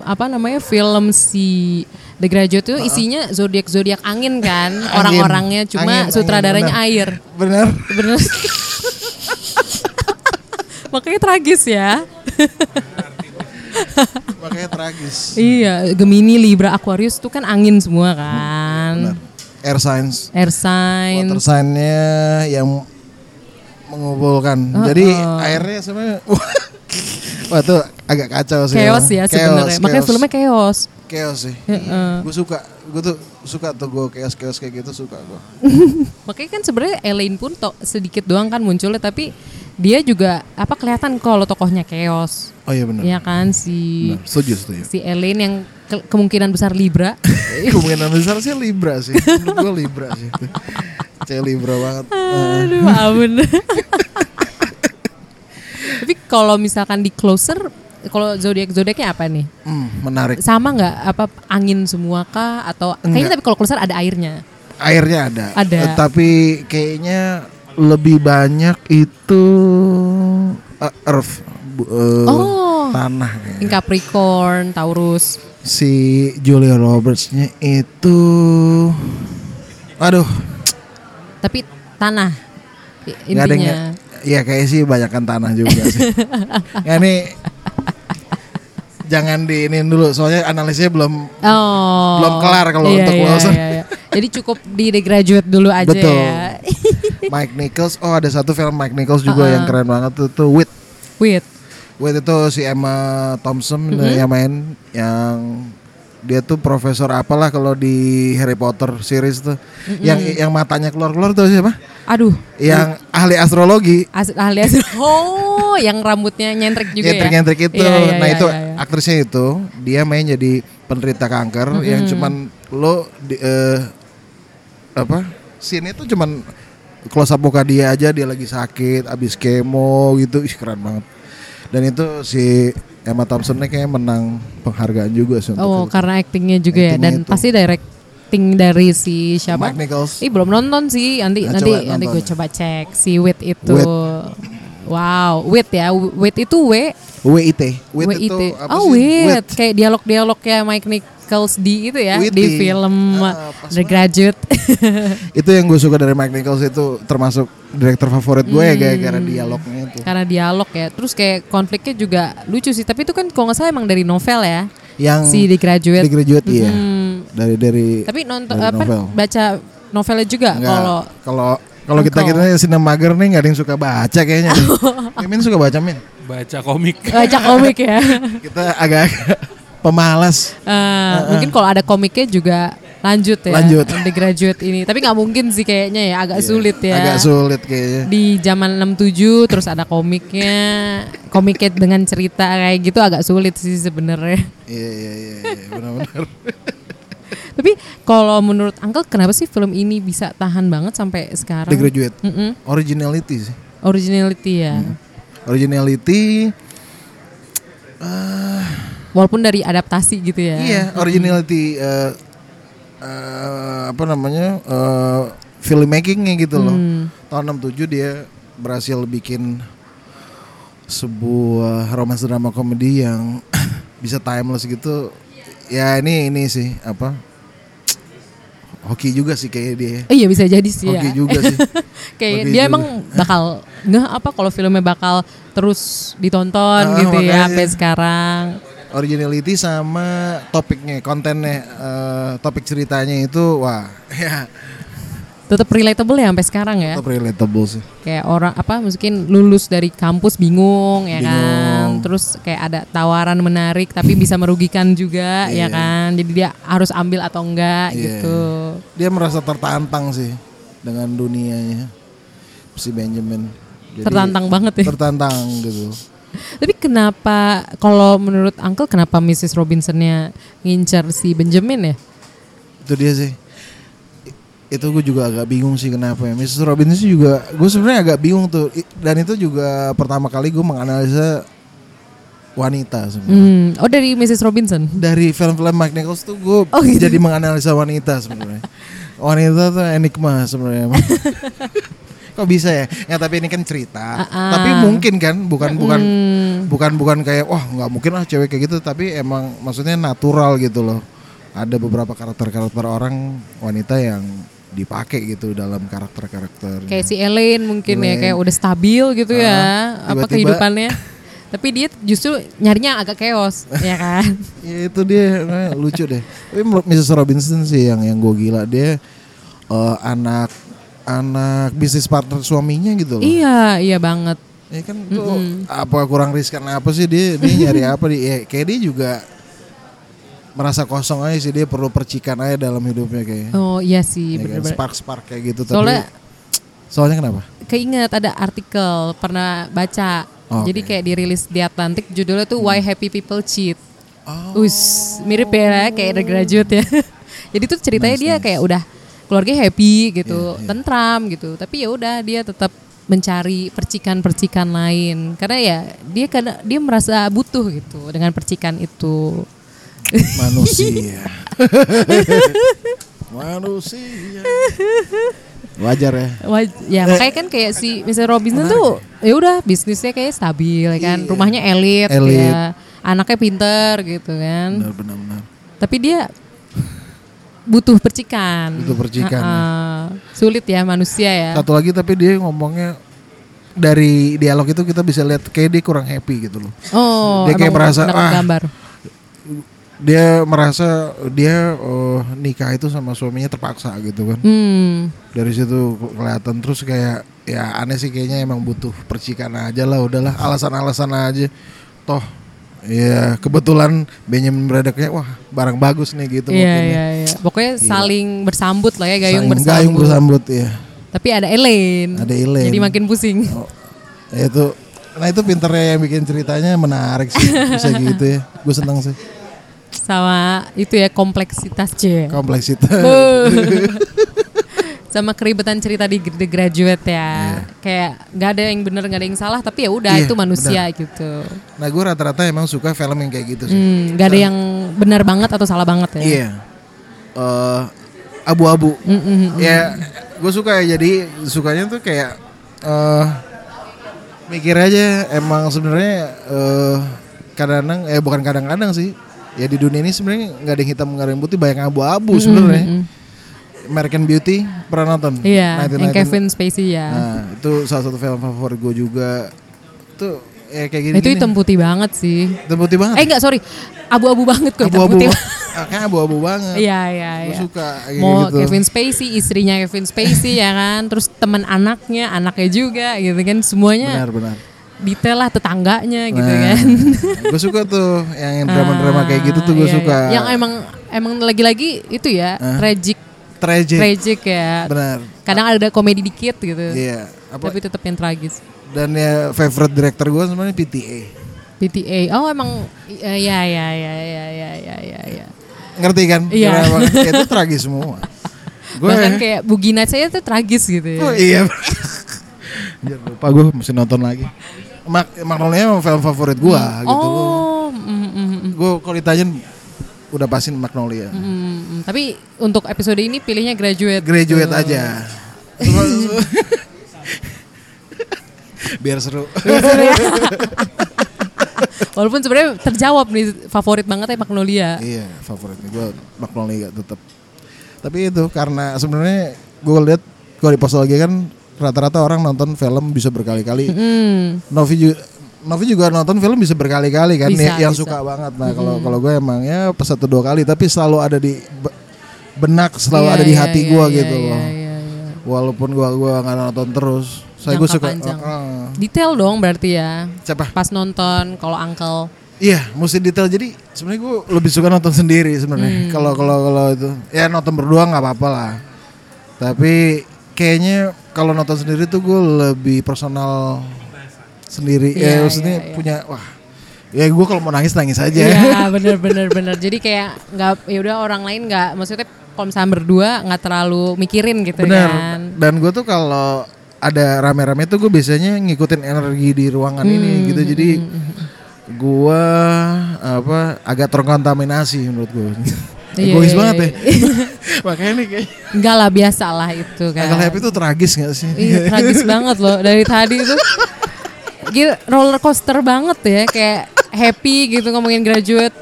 Speaker 1: apa namanya film si The Graduate itu isinya zodiak zodiak angin kan orang-orangnya
Speaker 2: Ah. Angin,
Speaker 1: cuma
Speaker 2: angin,
Speaker 1: sutradaranya
Speaker 2: angin,
Speaker 1: air.
Speaker 2: Bener.
Speaker 1: Bener. Makanya tragis ya.
Speaker 2: Makanya tragis.
Speaker 1: iya, Gemini, Libra, Aquarius itu kan angin
Speaker 2: Hmm,
Speaker 1: semua
Speaker 2: iya,
Speaker 1: kan.
Speaker 2: Air science.
Speaker 1: Air sign.
Speaker 2: Water sign-nya yang mengumpulkan.
Speaker 1: Oh,
Speaker 2: Jadi airnya sebenarnya Wah tuh agak kacau sih.
Speaker 1: Chaos
Speaker 2: emang.
Speaker 1: ya
Speaker 2: Chaos,
Speaker 1: sebenarnya. Makanya
Speaker 2: chaos.
Speaker 1: filmnya chaos.
Speaker 2: chaos sih. Gue suka, gue tuh suka tuh gue chaos chaos kayak gitu suka gue.
Speaker 1: Makanya kan sebenarnya Elaine pun to- sedikit doang kan munculnya tapi dia juga apa kelihatan kalau tokohnya chaos.
Speaker 2: Oh iya benar.
Speaker 1: Iya
Speaker 2: iya.
Speaker 1: kan si
Speaker 2: Setuju setuju.
Speaker 1: si Elaine yang ke- kemungkinan besar Libra.
Speaker 2: Kemungkinan besar sih Libra sih. Menurut gue Libra sih. itu. Cewek Libra banget.
Speaker 1: Aduh, ampun. Tapi kalau misalkan di closer kalau zodiak zodiaknya apa nih?
Speaker 2: Hmm, menarik.
Speaker 1: Sama nggak apa angin semua kah atau kayaknya tapi kalau closer ada airnya.
Speaker 2: Iya. Airnya ada.
Speaker 1: Ada.
Speaker 2: Eh, tapi kayaknya lebih banyak itu eh, Earth. Bu- eh,
Speaker 1: Oh.
Speaker 2: Tanah. kayaknya.
Speaker 1: Capricorn, Taurus.
Speaker 2: Si Julia Robertsnya itu. Aduh.
Speaker 1: Tapi tanah i-
Speaker 2: nggak ada yang-
Speaker 1: intinya.
Speaker 2: Ya kayak sih banyakkan tanah juga sih. ya ini jangan diinin dulu soalnya analisnya belum
Speaker 1: Oh. iya,
Speaker 2: Belum kelar kalau untuk closer.
Speaker 1: Jadi cukup di The Graduate dulu aja
Speaker 2: Betul.
Speaker 1: ya.
Speaker 2: Mike Nichols. Oh, ada satu film Mike Nichols juga yang keren banget tuh, tuh Wit.
Speaker 1: Wait.
Speaker 2: Wit itu si Emma Thompson
Speaker 1: Mhm.
Speaker 2: yang main yang dia tuh profesor apalah kalau di Harry Potter series tuh.
Speaker 1: Mhm.
Speaker 2: Yang yang matanya keluar-keluar tuh siapa?
Speaker 1: Aduh.
Speaker 2: Yang
Speaker 1: Iya.
Speaker 2: ahli astrologi.
Speaker 1: As- ahli as- Oh, yang rambutnya nyentrik juga ya.
Speaker 2: Nyentrik-nyentrik itu.
Speaker 1: Iya, iya,
Speaker 2: nah,
Speaker 1: iya,
Speaker 2: itu
Speaker 1: iya, iya.
Speaker 2: aktrisnya itu dia main jadi penderita kanker yang cuman lo di, eh, apa? Scene itu cuman close up muka dia aja dia lagi sakit abis kemo gitu. Ih, keren banget. Dan itu si Emma Thompson kayaknya menang penghargaan juga sih untuk
Speaker 1: Oh,
Speaker 2: itu.
Speaker 1: karena aktingnya juga ya
Speaker 2: Actingnya
Speaker 1: dan
Speaker 2: itu.
Speaker 1: pasti directing dari si siapa?
Speaker 2: Mike Nichols.
Speaker 1: Ih, belum nonton sih. Nanti
Speaker 2: Nah,
Speaker 1: nanti
Speaker 2: coba
Speaker 1: nanti
Speaker 2: nonton.
Speaker 1: gue coba cek si Wit itu.
Speaker 2: Wit.
Speaker 1: Wow, Wit ya. Wit itu W
Speaker 2: WIT. WIT
Speaker 1: W I
Speaker 2: itu
Speaker 1: T.
Speaker 2: apa
Speaker 1: Oh,
Speaker 2: sih?
Speaker 1: Wit. Kayak dialog-dialog ya Mike Nichols di itu ya
Speaker 2: Wit
Speaker 1: di
Speaker 2: di-
Speaker 1: film
Speaker 2: Ah, pas
Speaker 1: The Graduate.
Speaker 2: Itu yang gue suka dari Mike Nichols itu termasuk direktur favorit gue
Speaker 1: Hmm.
Speaker 2: ya gara-gara dialognya itu.
Speaker 1: karena dialog ya. Terus kayak konfliknya juga lucu sih. Tapi itu kan kalau nggak salah emang dari novel ya.
Speaker 2: Yang
Speaker 1: si The Graduate. Mm-hmm.
Speaker 2: Di graduate iya. Dari dari
Speaker 1: Tapi nonton
Speaker 2: dari
Speaker 1: apa
Speaker 2: novel.
Speaker 1: baca novelnya juga
Speaker 2: Nggak,
Speaker 1: kalau
Speaker 2: kalau kalau kita
Speaker 1: engkau.
Speaker 2: kita sinemager nih nggak ada yang suka baca kayaknya. Ya, Min suka baca Min.
Speaker 8: Baca komik.
Speaker 1: baca komik ya.
Speaker 2: Kita agak pemalas.
Speaker 1: Eh, Mungkin kalau ada komiknya juga lanjut ya.
Speaker 2: Lanjut. Iya,
Speaker 1: The Graduate ini. Tapi nggak mungkin sih kayaknya ya. Agak sulit ya.
Speaker 2: Agak sulit kayaknya.
Speaker 1: Di zaman 67 terus ada komiknya. Komiknya dengan cerita kayak gitu agak sulit sih sebenarnya.
Speaker 2: Iya iya iya iya, benar-benar.
Speaker 1: Tapi kalau menurut Uncle kenapa sih film ini bisa tahan banget sampai sekarang?
Speaker 2: The graduate. Hmm.
Speaker 1: Mm-mm.
Speaker 2: Originality sih.
Speaker 1: Originality ya.
Speaker 2: Originality.
Speaker 1: Walaupun dari adaptasi gitu ya.
Speaker 2: Iya, originality eh, eh, apa namanya? eh, filmmakingnya gitu loh. Tahun 67 dia berhasil bikin sebuah romance drama komedi yang bisa timeless gitu. Ya ini ini sih apa? Hoki juga sih kayak dia.
Speaker 1: Eh, iya bisa jadi sih
Speaker 2: Hoki
Speaker 1: ya.
Speaker 2: juga sih.
Speaker 1: Kayak
Speaker 2: Hoki
Speaker 1: dia
Speaker 2: juga.
Speaker 1: emang bakal nggak apa kalau filmnya bakal terus ditonton
Speaker 2: Ah,
Speaker 1: gitu ya
Speaker 2: makanya.
Speaker 1: sampai sekarang.
Speaker 2: Originality sama topiknya, kontennya, eh, topik ceritanya itu wah ya
Speaker 1: Tetap relatable ya sampai sekarang ya.
Speaker 2: tetap relatable sih.
Speaker 1: Kayak orang apa mungkin lulus dari kampus bingung ya kan.
Speaker 2: Bingung.
Speaker 1: Terus kayak ada tawaran menarik tapi bisa merugikan juga ya
Speaker 2: Iya.
Speaker 1: kan. Jadi dia harus ambil atau enggak
Speaker 2: Iya.
Speaker 1: gitu.
Speaker 2: Dia merasa tertantang sih dengan dunianya si Benjamin. Jadi,
Speaker 1: Tertantang banget ya.
Speaker 2: Tertantang gitu.
Speaker 1: Tapi kenapa kalau menurut Uncle kenapa Mrs. Robinsonnya ngincer si Benjamin ya?
Speaker 2: Itu dia sih. I- Itu gue juga agak bingung sih kenapa ya. Mrs. Robbins sih juga gue sebenarnya agak bingung tuh. I- Dan itu juga pertama kali gue menganalisa wanita sebenarnya.
Speaker 1: Hmm. Oh dari Mrs. Robinson.
Speaker 2: Dari film-film Mike Nichols tuh gue
Speaker 1: Oh, gitu.
Speaker 2: jadi menganalisa wanita sebenarnya. wanita tuh enigma sebenarnya. Kok bisa ya? Ya tapi ini kan
Speaker 1: Ah-ah.
Speaker 2: cerita.
Speaker 1: Hmm.
Speaker 2: Tapi mungkin kan bukan bukan bukan bukan kayak wah nggak mungkin lah cewek kayak gitu tapi emang maksudnya natural gitu loh ada beberapa karakter-karakter orang wanita yang dipakai gitu dalam karakter-karakter
Speaker 1: Kayak si Elaine mungkin ya
Speaker 2: Elaine.
Speaker 1: kayak udah stabil gitu ya
Speaker 2: Ah,
Speaker 1: apa
Speaker 2: tiba-tiba-
Speaker 1: kehidupannya. Tapi dia justru nyarinya agak chaos ya kan.
Speaker 2: ya itu dia eh, lucu deh tapi menurut Mrs Robinson sih yang yang gue gila dia eh, anak anak bisnis partner suaminya gitu loh
Speaker 1: iya, iya banget.
Speaker 2: Ya kan tuh apa kurang riskan apa sih dia dia nyari apa dia ya, kayak dia juga merasa kosong aja sih dia perlu percikan aja dalam hidupnya kayaknya.
Speaker 1: Oh iya sih
Speaker 2: ya
Speaker 1: bener-bener.
Speaker 2: spark spark kayak gitu
Speaker 1: Soalnya
Speaker 2: tapi soalnya kenapa
Speaker 1: keinget ada artikel pernah baca.
Speaker 2: Oh,
Speaker 1: Jadi
Speaker 2: oke. Hmm.
Speaker 1: kayak dirilis di Atlantik judulnya tuh Why Happy People Cheat.
Speaker 2: Oh.
Speaker 1: Us, mirip ya kayak The Graduate ya. Jadi tuh ceritanya dia kayak udah keluarga happy
Speaker 2: Iya,
Speaker 1: gitu, tentram gitu. Tapi ya udah dia tetap mencari percikan-percikan lain karena ya dia kadang dia merasa butuh gitu dengan percikan itu.
Speaker 2: manusia manusia wajar ya
Speaker 1: Waj- ya makanya kan kayak si Mr. Robinson tuh ya udah bisnisnya kayak stabil ya kan, rumahnya elit,
Speaker 2: Iya. Elit.
Speaker 1: ya. Anaknya pinter gitu kan.
Speaker 2: benar benar benar
Speaker 1: Tapi dia butuh percikan.
Speaker 2: Butuh percikan, ya.
Speaker 1: Heeh. Sulit ya manusia ya.
Speaker 2: satu lagi tapi dia ngomongnya dari dialog itu kita bisa lihat kayak dia kurang happy gitu loh
Speaker 1: Oh,
Speaker 2: Dia kayak
Speaker 1: emang
Speaker 2: merasa,
Speaker 1: bener
Speaker 2: "Ah,
Speaker 1: gambar.
Speaker 2: dia merasa dia eh, nikah itu sama suaminya terpaksa gitu kan
Speaker 1: Hmm.
Speaker 2: dari situ ke- kelihatan terus kayak ya aneh sih kayaknya emang butuh percikan aja lah udahlah alasan-alasan aja toh ya kebetulan Benjamin Braddock kayak wah barang bagus nih gitu
Speaker 1: Iya,
Speaker 2: mungkin ya.
Speaker 1: iya, iya. Pokoknya saling bersambut lah ya gayung
Speaker 2: Sang-
Speaker 1: bersambut.
Speaker 2: gayung bersambut ya
Speaker 1: Tapi ada Elaine.
Speaker 2: Ada Elaine. Oh.
Speaker 1: Jadi makin pusing.
Speaker 2: itu nah itu pinternya yang bikin ceritanya menarik sih bisa gitu ya gue seneng sih
Speaker 1: Sama itu ya kompleksitas C.
Speaker 2: kompleksitas
Speaker 1: Sama keribetan cerita di The Graduate ya. Kayak nggak ada yang bener nggak ada yang salah, tapi ya udah
Speaker 2: Iya,
Speaker 1: itu manusia gitu.
Speaker 2: nah gue rata-rata emang suka film yang kayak gitu sih
Speaker 1: Hmm, nggak ada yang benar banget atau salah banget ya.
Speaker 2: Iya. Eh, abu-abu.
Speaker 1: Hmm,
Speaker 2: Ya, gue suka ya. Jadi sukanya tuh kayak eh mikir aja emang sebenarnya eh kadang-kadang eh bukan kadang-kadang sih. Ya di dunia ini sebenarnya nggak ada yang hitam nggak ada yang putih, banyak yang
Speaker 1: Hmm,
Speaker 2: abu-abu sebenarnya. American Beauty pernah nonton?
Speaker 1: Iya, yang
Speaker 2: 1919.
Speaker 1: Kevin Spacey ya.
Speaker 2: Nah, itu salah satu film favorit gue juga. Tuh ya kayak gini.
Speaker 1: itu hitam putih banget sih.
Speaker 2: Hitam putih banget.
Speaker 1: Eh enggak sorry, abu-abu banget kok hitam
Speaker 2: abu-abu.
Speaker 1: putih.
Speaker 2: Ah, Kan abu-abu banget.
Speaker 1: Iya iya
Speaker 2: Gua
Speaker 1: iya.
Speaker 2: suka kayak
Speaker 1: Mau
Speaker 2: gitu.
Speaker 1: Kevin Spacey, istrinya Kevin Spacey ya kan, terus teman anaknya, anaknya juga gitu kan semuanya
Speaker 2: Benar-benar.
Speaker 1: detail lah tetangganya gitu
Speaker 2: Nah,
Speaker 1: kan.
Speaker 2: gue suka tuh yang drama-drama kayak gitu tuh
Speaker 1: Ah, Iya,
Speaker 2: gue
Speaker 1: iya.
Speaker 2: suka.
Speaker 1: Yang emang emang lagi-lagi itu ya tragic
Speaker 2: tragic.
Speaker 1: tragic ya.
Speaker 2: Benar.
Speaker 1: Kadang ada komedi dikit gitu.
Speaker 2: Iya. Apa
Speaker 1: Tapi tetap yang tragis.
Speaker 2: dan ya favorite director gue sebenarnya PTA.
Speaker 1: PTA. Oh emang iya iya iya iya iya iya iya. iya.
Speaker 2: Ngerti kan?
Speaker 1: Iya.
Speaker 2: Kenapa? Ya, itu tragis semua. Gue
Speaker 1: Bahkan kayak Bugi Nights saya tuh tragis gitu ya.
Speaker 2: ya. Oh, iya. Jangan lupa gue mesti nonton lagi. Mak Magnolia emang film favorit gue gitu.
Speaker 1: Oh, mm, mm, mm,
Speaker 2: Gue kalau ditanyain udah pastiin Magnolia.
Speaker 1: mm, mm. tapi untuk episode ini pilihnya graduate.
Speaker 2: Graduate
Speaker 1: Tuh.
Speaker 2: aja. Cuma- Biar seru.
Speaker 1: Walaupun sebenarnya terjawab nih favorit banget ya Magnolia.
Speaker 2: Iya, favoritnya gue Magnolia tetap. Tapi itu karena sebenarnya gue lihat kalau di Postal lagi kan rata-rata orang nonton film bisa berkali-kali.
Speaker 1: Hmm.
Speaker 2: Novi juga Novi juga nonton film bisa berkali-kali kan
Speaker 1: Bisa,
Speaker 2: ya- yang
Speaker 1: bisa. Hmm.
Speaker 2: suka banget. Nah, kalau kalau gue emang ya pas satu dua kali tapi selalu ada di be- benak, selalu
Speaker 1: Iya,
Speaker 2: ada di
Speaker 1: iya,
Speaker 2: hati
Speaker 1: iya,
Speaker 2: gue
Speaker 1: iya,
Speaker 2: gitu
Speaker 1: iya,
Speaker 2: loh.
Speaker 1: iya, iya.
Speaker 2: Walaupun gue gua nggak nonton terus, saya gue
Speaker 1: Jangka
Speaker 2: suka uh-uh.
Speaker 1: panjang.
Speaker 2: Heeh.
Speaker 1: Detail dong berarti ya.
Speaker 2: siapa?
Speaker 1: Pas nonton kalau uncle
Speaker 2: Iya, mesti detail. Jadi sebenarnya gue lebih suka nonton sendiri
Speaker 1: Hmm.
Speaker 2: sebenarnya. Kalau kalau kalau itu, ya nonton berdua nggak apa-apa lah. Tapi kayaknya kalau nonton sendiri tuh gue lebih personal sendiri.
Speaker 1: Iya,
Speaker 2: ya maksudnya
Speaker 1: iya, iya.
Speaker 2: punya wah. Ya gue kalau mau nangis nangis aja.
Speaker 1: Iya bener bener bener. Jadi kayak nggak ya udah orang lain nggak maksudnya kalau misalnya berdua nggak terlalu mikirin gitu
Speaker 2: Bener.
Speaker 1: kan.
Speaker 2: Dan gue tuh kalau ada rame-rame tuh gue biasanya ngikutin energi di ruangan ini
Speaker 1: Hmm,
Speaker 2: gitu. Jadi gue apa agak terkontaminasi menurut gue.
Speaker 1: Iya,
Speaker 2: Egois
Speaker 1: iya,
Speaker 2: banget
Speaker 1: iya.
Speaker 2: ya. Makanya nih kayaknya
Speaker 1: Enggak lah biasa lah itu kan.
Speaker 2: Uncle Happy tuh tragis gak sih?
Speaker 1: Iya tragis banget loh dari tadi itu. Gila, roller coaster banget ya kayak happy gitu ngomongin graduate.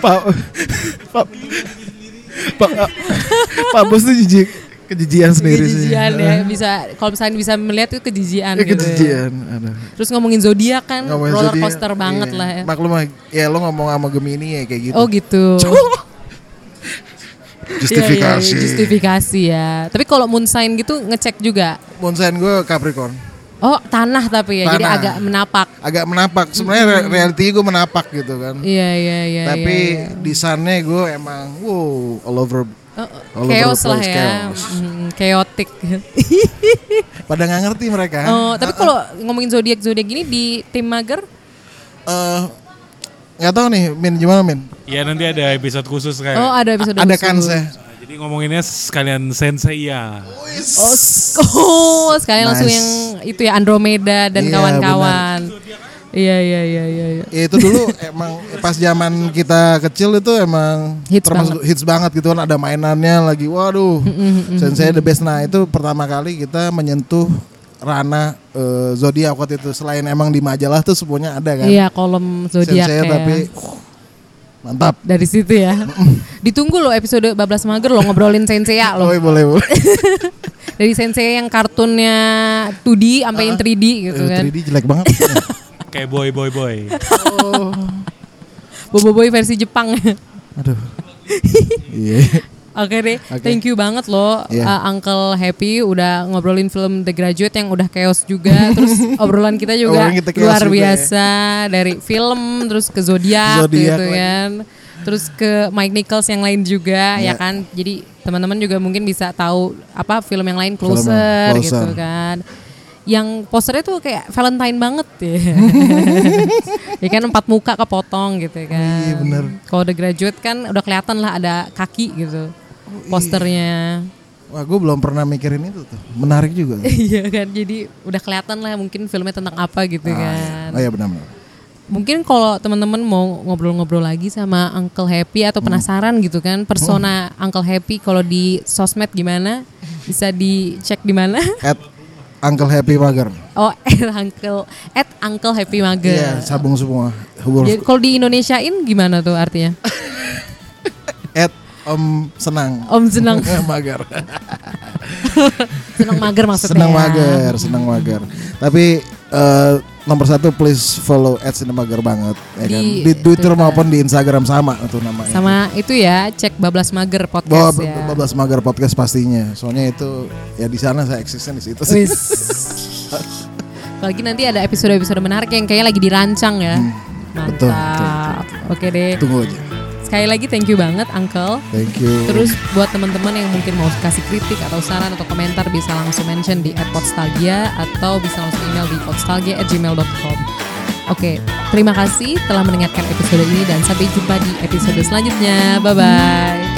Speaker 2: Pak Pak Pak Pak Bos tuh jijik kejijian sendiri sih.
Speaker 1: Kejijian ya bisa kalau misalnya bisa melihat itu kejijian
Speaker 2: Ya,
Speaker 1: gitu. Ya.
Speaker 2: kejijian. Aduh.
Speaker 1: Terus ngomongin zodiak kan
Speaker 2: Ngomongin
Speaker 1: roller
Speaker 2: sedih,
Speaker 1: coaster banget
Speaker 2: iya.
Speaker 1: lah ya.
Speaker 2: Maklum lah, ya lo ngomong sama Gemini ya kayak gitu.
Speaker 1: Oh gitu. Iya, iya,
Speaker 2: Justifikasi.
Speaker 1: iya, justifikasi ya. Tapi kalau moon sign gitu ngecek juga.
Speaker 2: Moon sign gue Capricorn.
Speaker 1: Oh, tanah tapi ya. Jadi
Speaker 2: Tanah.
Speaker 1: agak menapak.
Speaker 2: Agak menapak. Sebenarnya reality gue menapak gitu kan.
Speaker 1: Iya, iya, iya.
Speaker 2: Tapi
Speaker 1: iya, iya.
Speaker 2: di sana gue emang wow all over
Speaker 1: Oh, oh,
Speaker 2: all over
Speaker 1: chaos
Speaker 2: the
Speaker 1: lah
Speaker 2: place,
Speaker 1: ya.
Speaker 2: chaos.
Speaker 1: Mm, chaotic.
Speaker 2: Pada nggak ngerti mereka.
Speaker 1: oh, tapi kalau ngomongin zodiak-zodiak gini di tim mager
Speaker 2: Eh, nggak tahu nih, Min gimana Min?
Speaker 8: Ya nanti ada episode khusus
Speaker 3: Eh,
Speaker 8: kayak.
Speaker 1: Oh, ada episode
Speaker 2: Ada
Speaker 1: khusus.
Speaker 2: kan saya.
Speaker 8: Nah, Jadi ngomonginnya sekalian sensei ya.
Speaker 1: Oh, s- oh, sekali langsung
Speaker 2: Nice.
Speaker 1: yang itu ya Andromeda dan
Speaker 2: Iya,
Speaker 1: kawan-kawan. Iya, iya, iya, iya, iya.
Speaker 2: Ya itu dulu emang pas zaman kita kecil itu emang
Speaker 1: Hits
Speaker 2: termasuk hits banget gitu kan ada mainannya lagi. Waduh. Sensei the best nah itu pertama kali kita menyentuh ranah eh, zodiak waktu itu selain emang di majalah tuh semuanya ada kan.
Speaker 1: Iya, kolom zodiak
Speaker 2: Sensei
Speaker 1: ya.
Speaker 2: tapi mantap.
Speaker 1: Dari situ ya. Ditunggu loh episode Bablas Mager loh ngobrolin Sensei-ya loh.
Speaker 2: Boleh boleh boleh.
Speaker 1: Dari Sensei yang kartunnya 2D sampai yang 3D gitu
Speaker 2: Eh,
Speaker 1: kan.
Speaker 2: 3D jelek banget.
Speaker 8: Kayak boy boy boy.
Speaker 1: Bobo Boy versi Jepang.
Speaker 2: Aduh. Iya.
Speaker 1: Oke deh,
Speaker 2: Oke.
Speaker 1: thank you banget loh
Speaker 2: Iya.
Speaker 1: uh, Uncle Happy udah ngobrolin film The Graduate yang udah chaos juga, terus obrolan kita juga
Speaker 2: Obrolan kita chaos
Speaker 1: luar
Speaker 2: juga ya.
Speaker 1: biasa dari film terus ke zodiak
Speaker 2: Zodiak
Speaker 1: gitu
Speaker 2: lagi.
Speaker 1: kan, terus ke Mike Nichols yang lain juga ya
Speaker 2: Iya.
Speaker 1: kan, jadi teman-teman juga mungkin bisa tahu apa film yang lain
Speaker 2: Film yang-
Speaker 1: Closer, gitu
Speaker 2: Closer.
Speaker 1: kan. Yang posternya tuh kayak Valentine banget ya. ya kan empat muka kepotong gitu kan.
Speaker 2: Iya, bener.
Speaker 1: Kalau The Graduate kan udah kelihatan lah ada kaki
Speaker 2: Oh,
Speaker 1: gitu.
Speaker 2: iya.
Speaker 1: Posternya.
Speaker 2: Wah, gue belum pernah mikirin itu tuh. Menarik juga.
Speaker 1: Iya kan. Jadi udah kelihatan lah mungkin filmnya tentang apa gitu kan.
Speaker 2: Oh iya benar-benar.
Speaker 1: Mungkin kalau teman-teman mau ngobrol-ngobrol lagi sama Uncle Happy atau
Speaker 2: Hmm.
Speaker 1: penasaran gitu kan persona Uncle Happy kalau di sosmed gimana? Bisa dicek di mana?
Speaker 2: At Uncle Happy Mager.
Speaker 1: Oh, at Uncle at Uncle Happy Mager.
Speaker 2: Iya, sabung semua. Hubung
Speaker 1: Jadi kalau di Indonesiain gimana tuh artinya?
Speaker 2: at Om Senang.
Speaker 1: Om senang
Speaker 2: mager.
Speaker 1: senang mager maksudnya.
Speaker 2: senang
Speaker 1: ya.
Speaker 2: mager, senang mager. Tapi eh, nomor satu please follow at Mager banget ya kan?
Speaker 1: Di
Speaker 2: Di Twitter maupun di Instagram sama itu namanya.
Speaker 1: Sama itu ya, cek bablas mager
Speaker 2: Bawa
Speaker 1: podcast ya.
Speaker 2: bablas mager podcast pastinya. Soalnya itu ya di sana saya eksisten di situ sih.
Speaker 1: Wis. Apalagi nanti ada episode-episode menarik yang kayaknya lagi dirancang ya. Mantap.
Speaker 2: Hmm, betul,
Speaker 1: Oke deh.
Speaker 2: Tunggu aja.
Speaker 1: Sekali lagi thank you banget Uncle.
Speaker 2: Thank you.
Speaker 1: Terus buat teman-teman yang mungkin mau kasih kritik atau saran atau komentar bisa langsung mention di @podstalgia atau bisa langsung email di podstalgia@gmail.com. Oke, terima kasih telah mendengarkan episode ini dan sampai jumpa di episode selanjutnya. Bye bye.